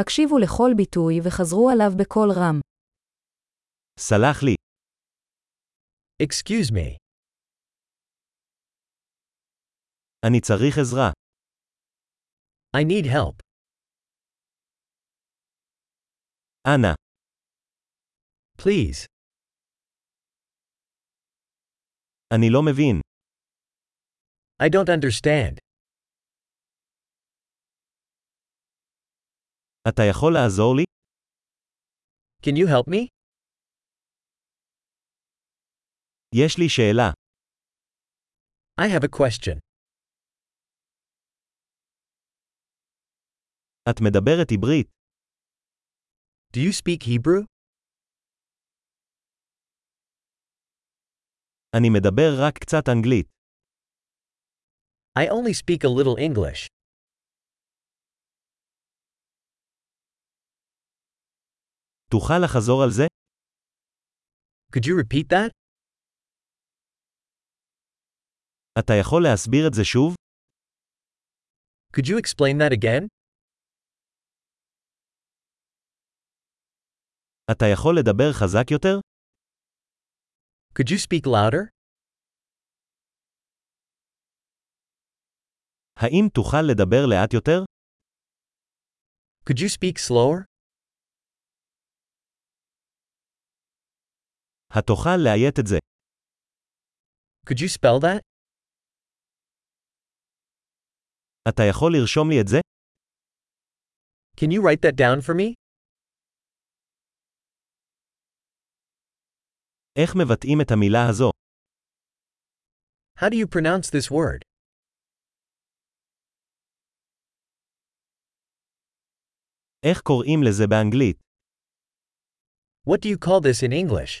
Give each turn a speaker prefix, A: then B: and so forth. A: הקשיבו לכל ביטוי וחזרו עליו בקול רם.
B: סלח לי,
C: Excuse me.
B: אני צריך עזרה.
C: I need help.
B: אנא,
C: Please.
B: אני לא מבין.
C: I don't understand.
B: אתה יכול לעזור לי?
C: Can you help me?
B: יש לי שאלה.
C: I have a question.
B: את מדברת עברית.
C: Do you speak Hebrew?
B: אני מדבר רק קצת אנגלית.
C: I only speak a little English.
B: תוכל לחזור על זה?
C: Could you repeat that?
B: אתה יכול להסביר את זה שוב?
C: Could you explain that again?
B: אתה יכול לדבר חזק יותר?
C: Could you speak louder?
B: האם תוכל לדבר לאט יותר?
C: Could you speak slower?
B: התוכל לאיית את זה.
C: Could you spell that?
B: אתה יכול לרשום לי את זה?
C: Can you write that down for me?
B: איך מבטאים את המילה הזו?
C: How do you pronounce this word?
B: איך קוראים לזה באנגלית?
C: What do you call this in English?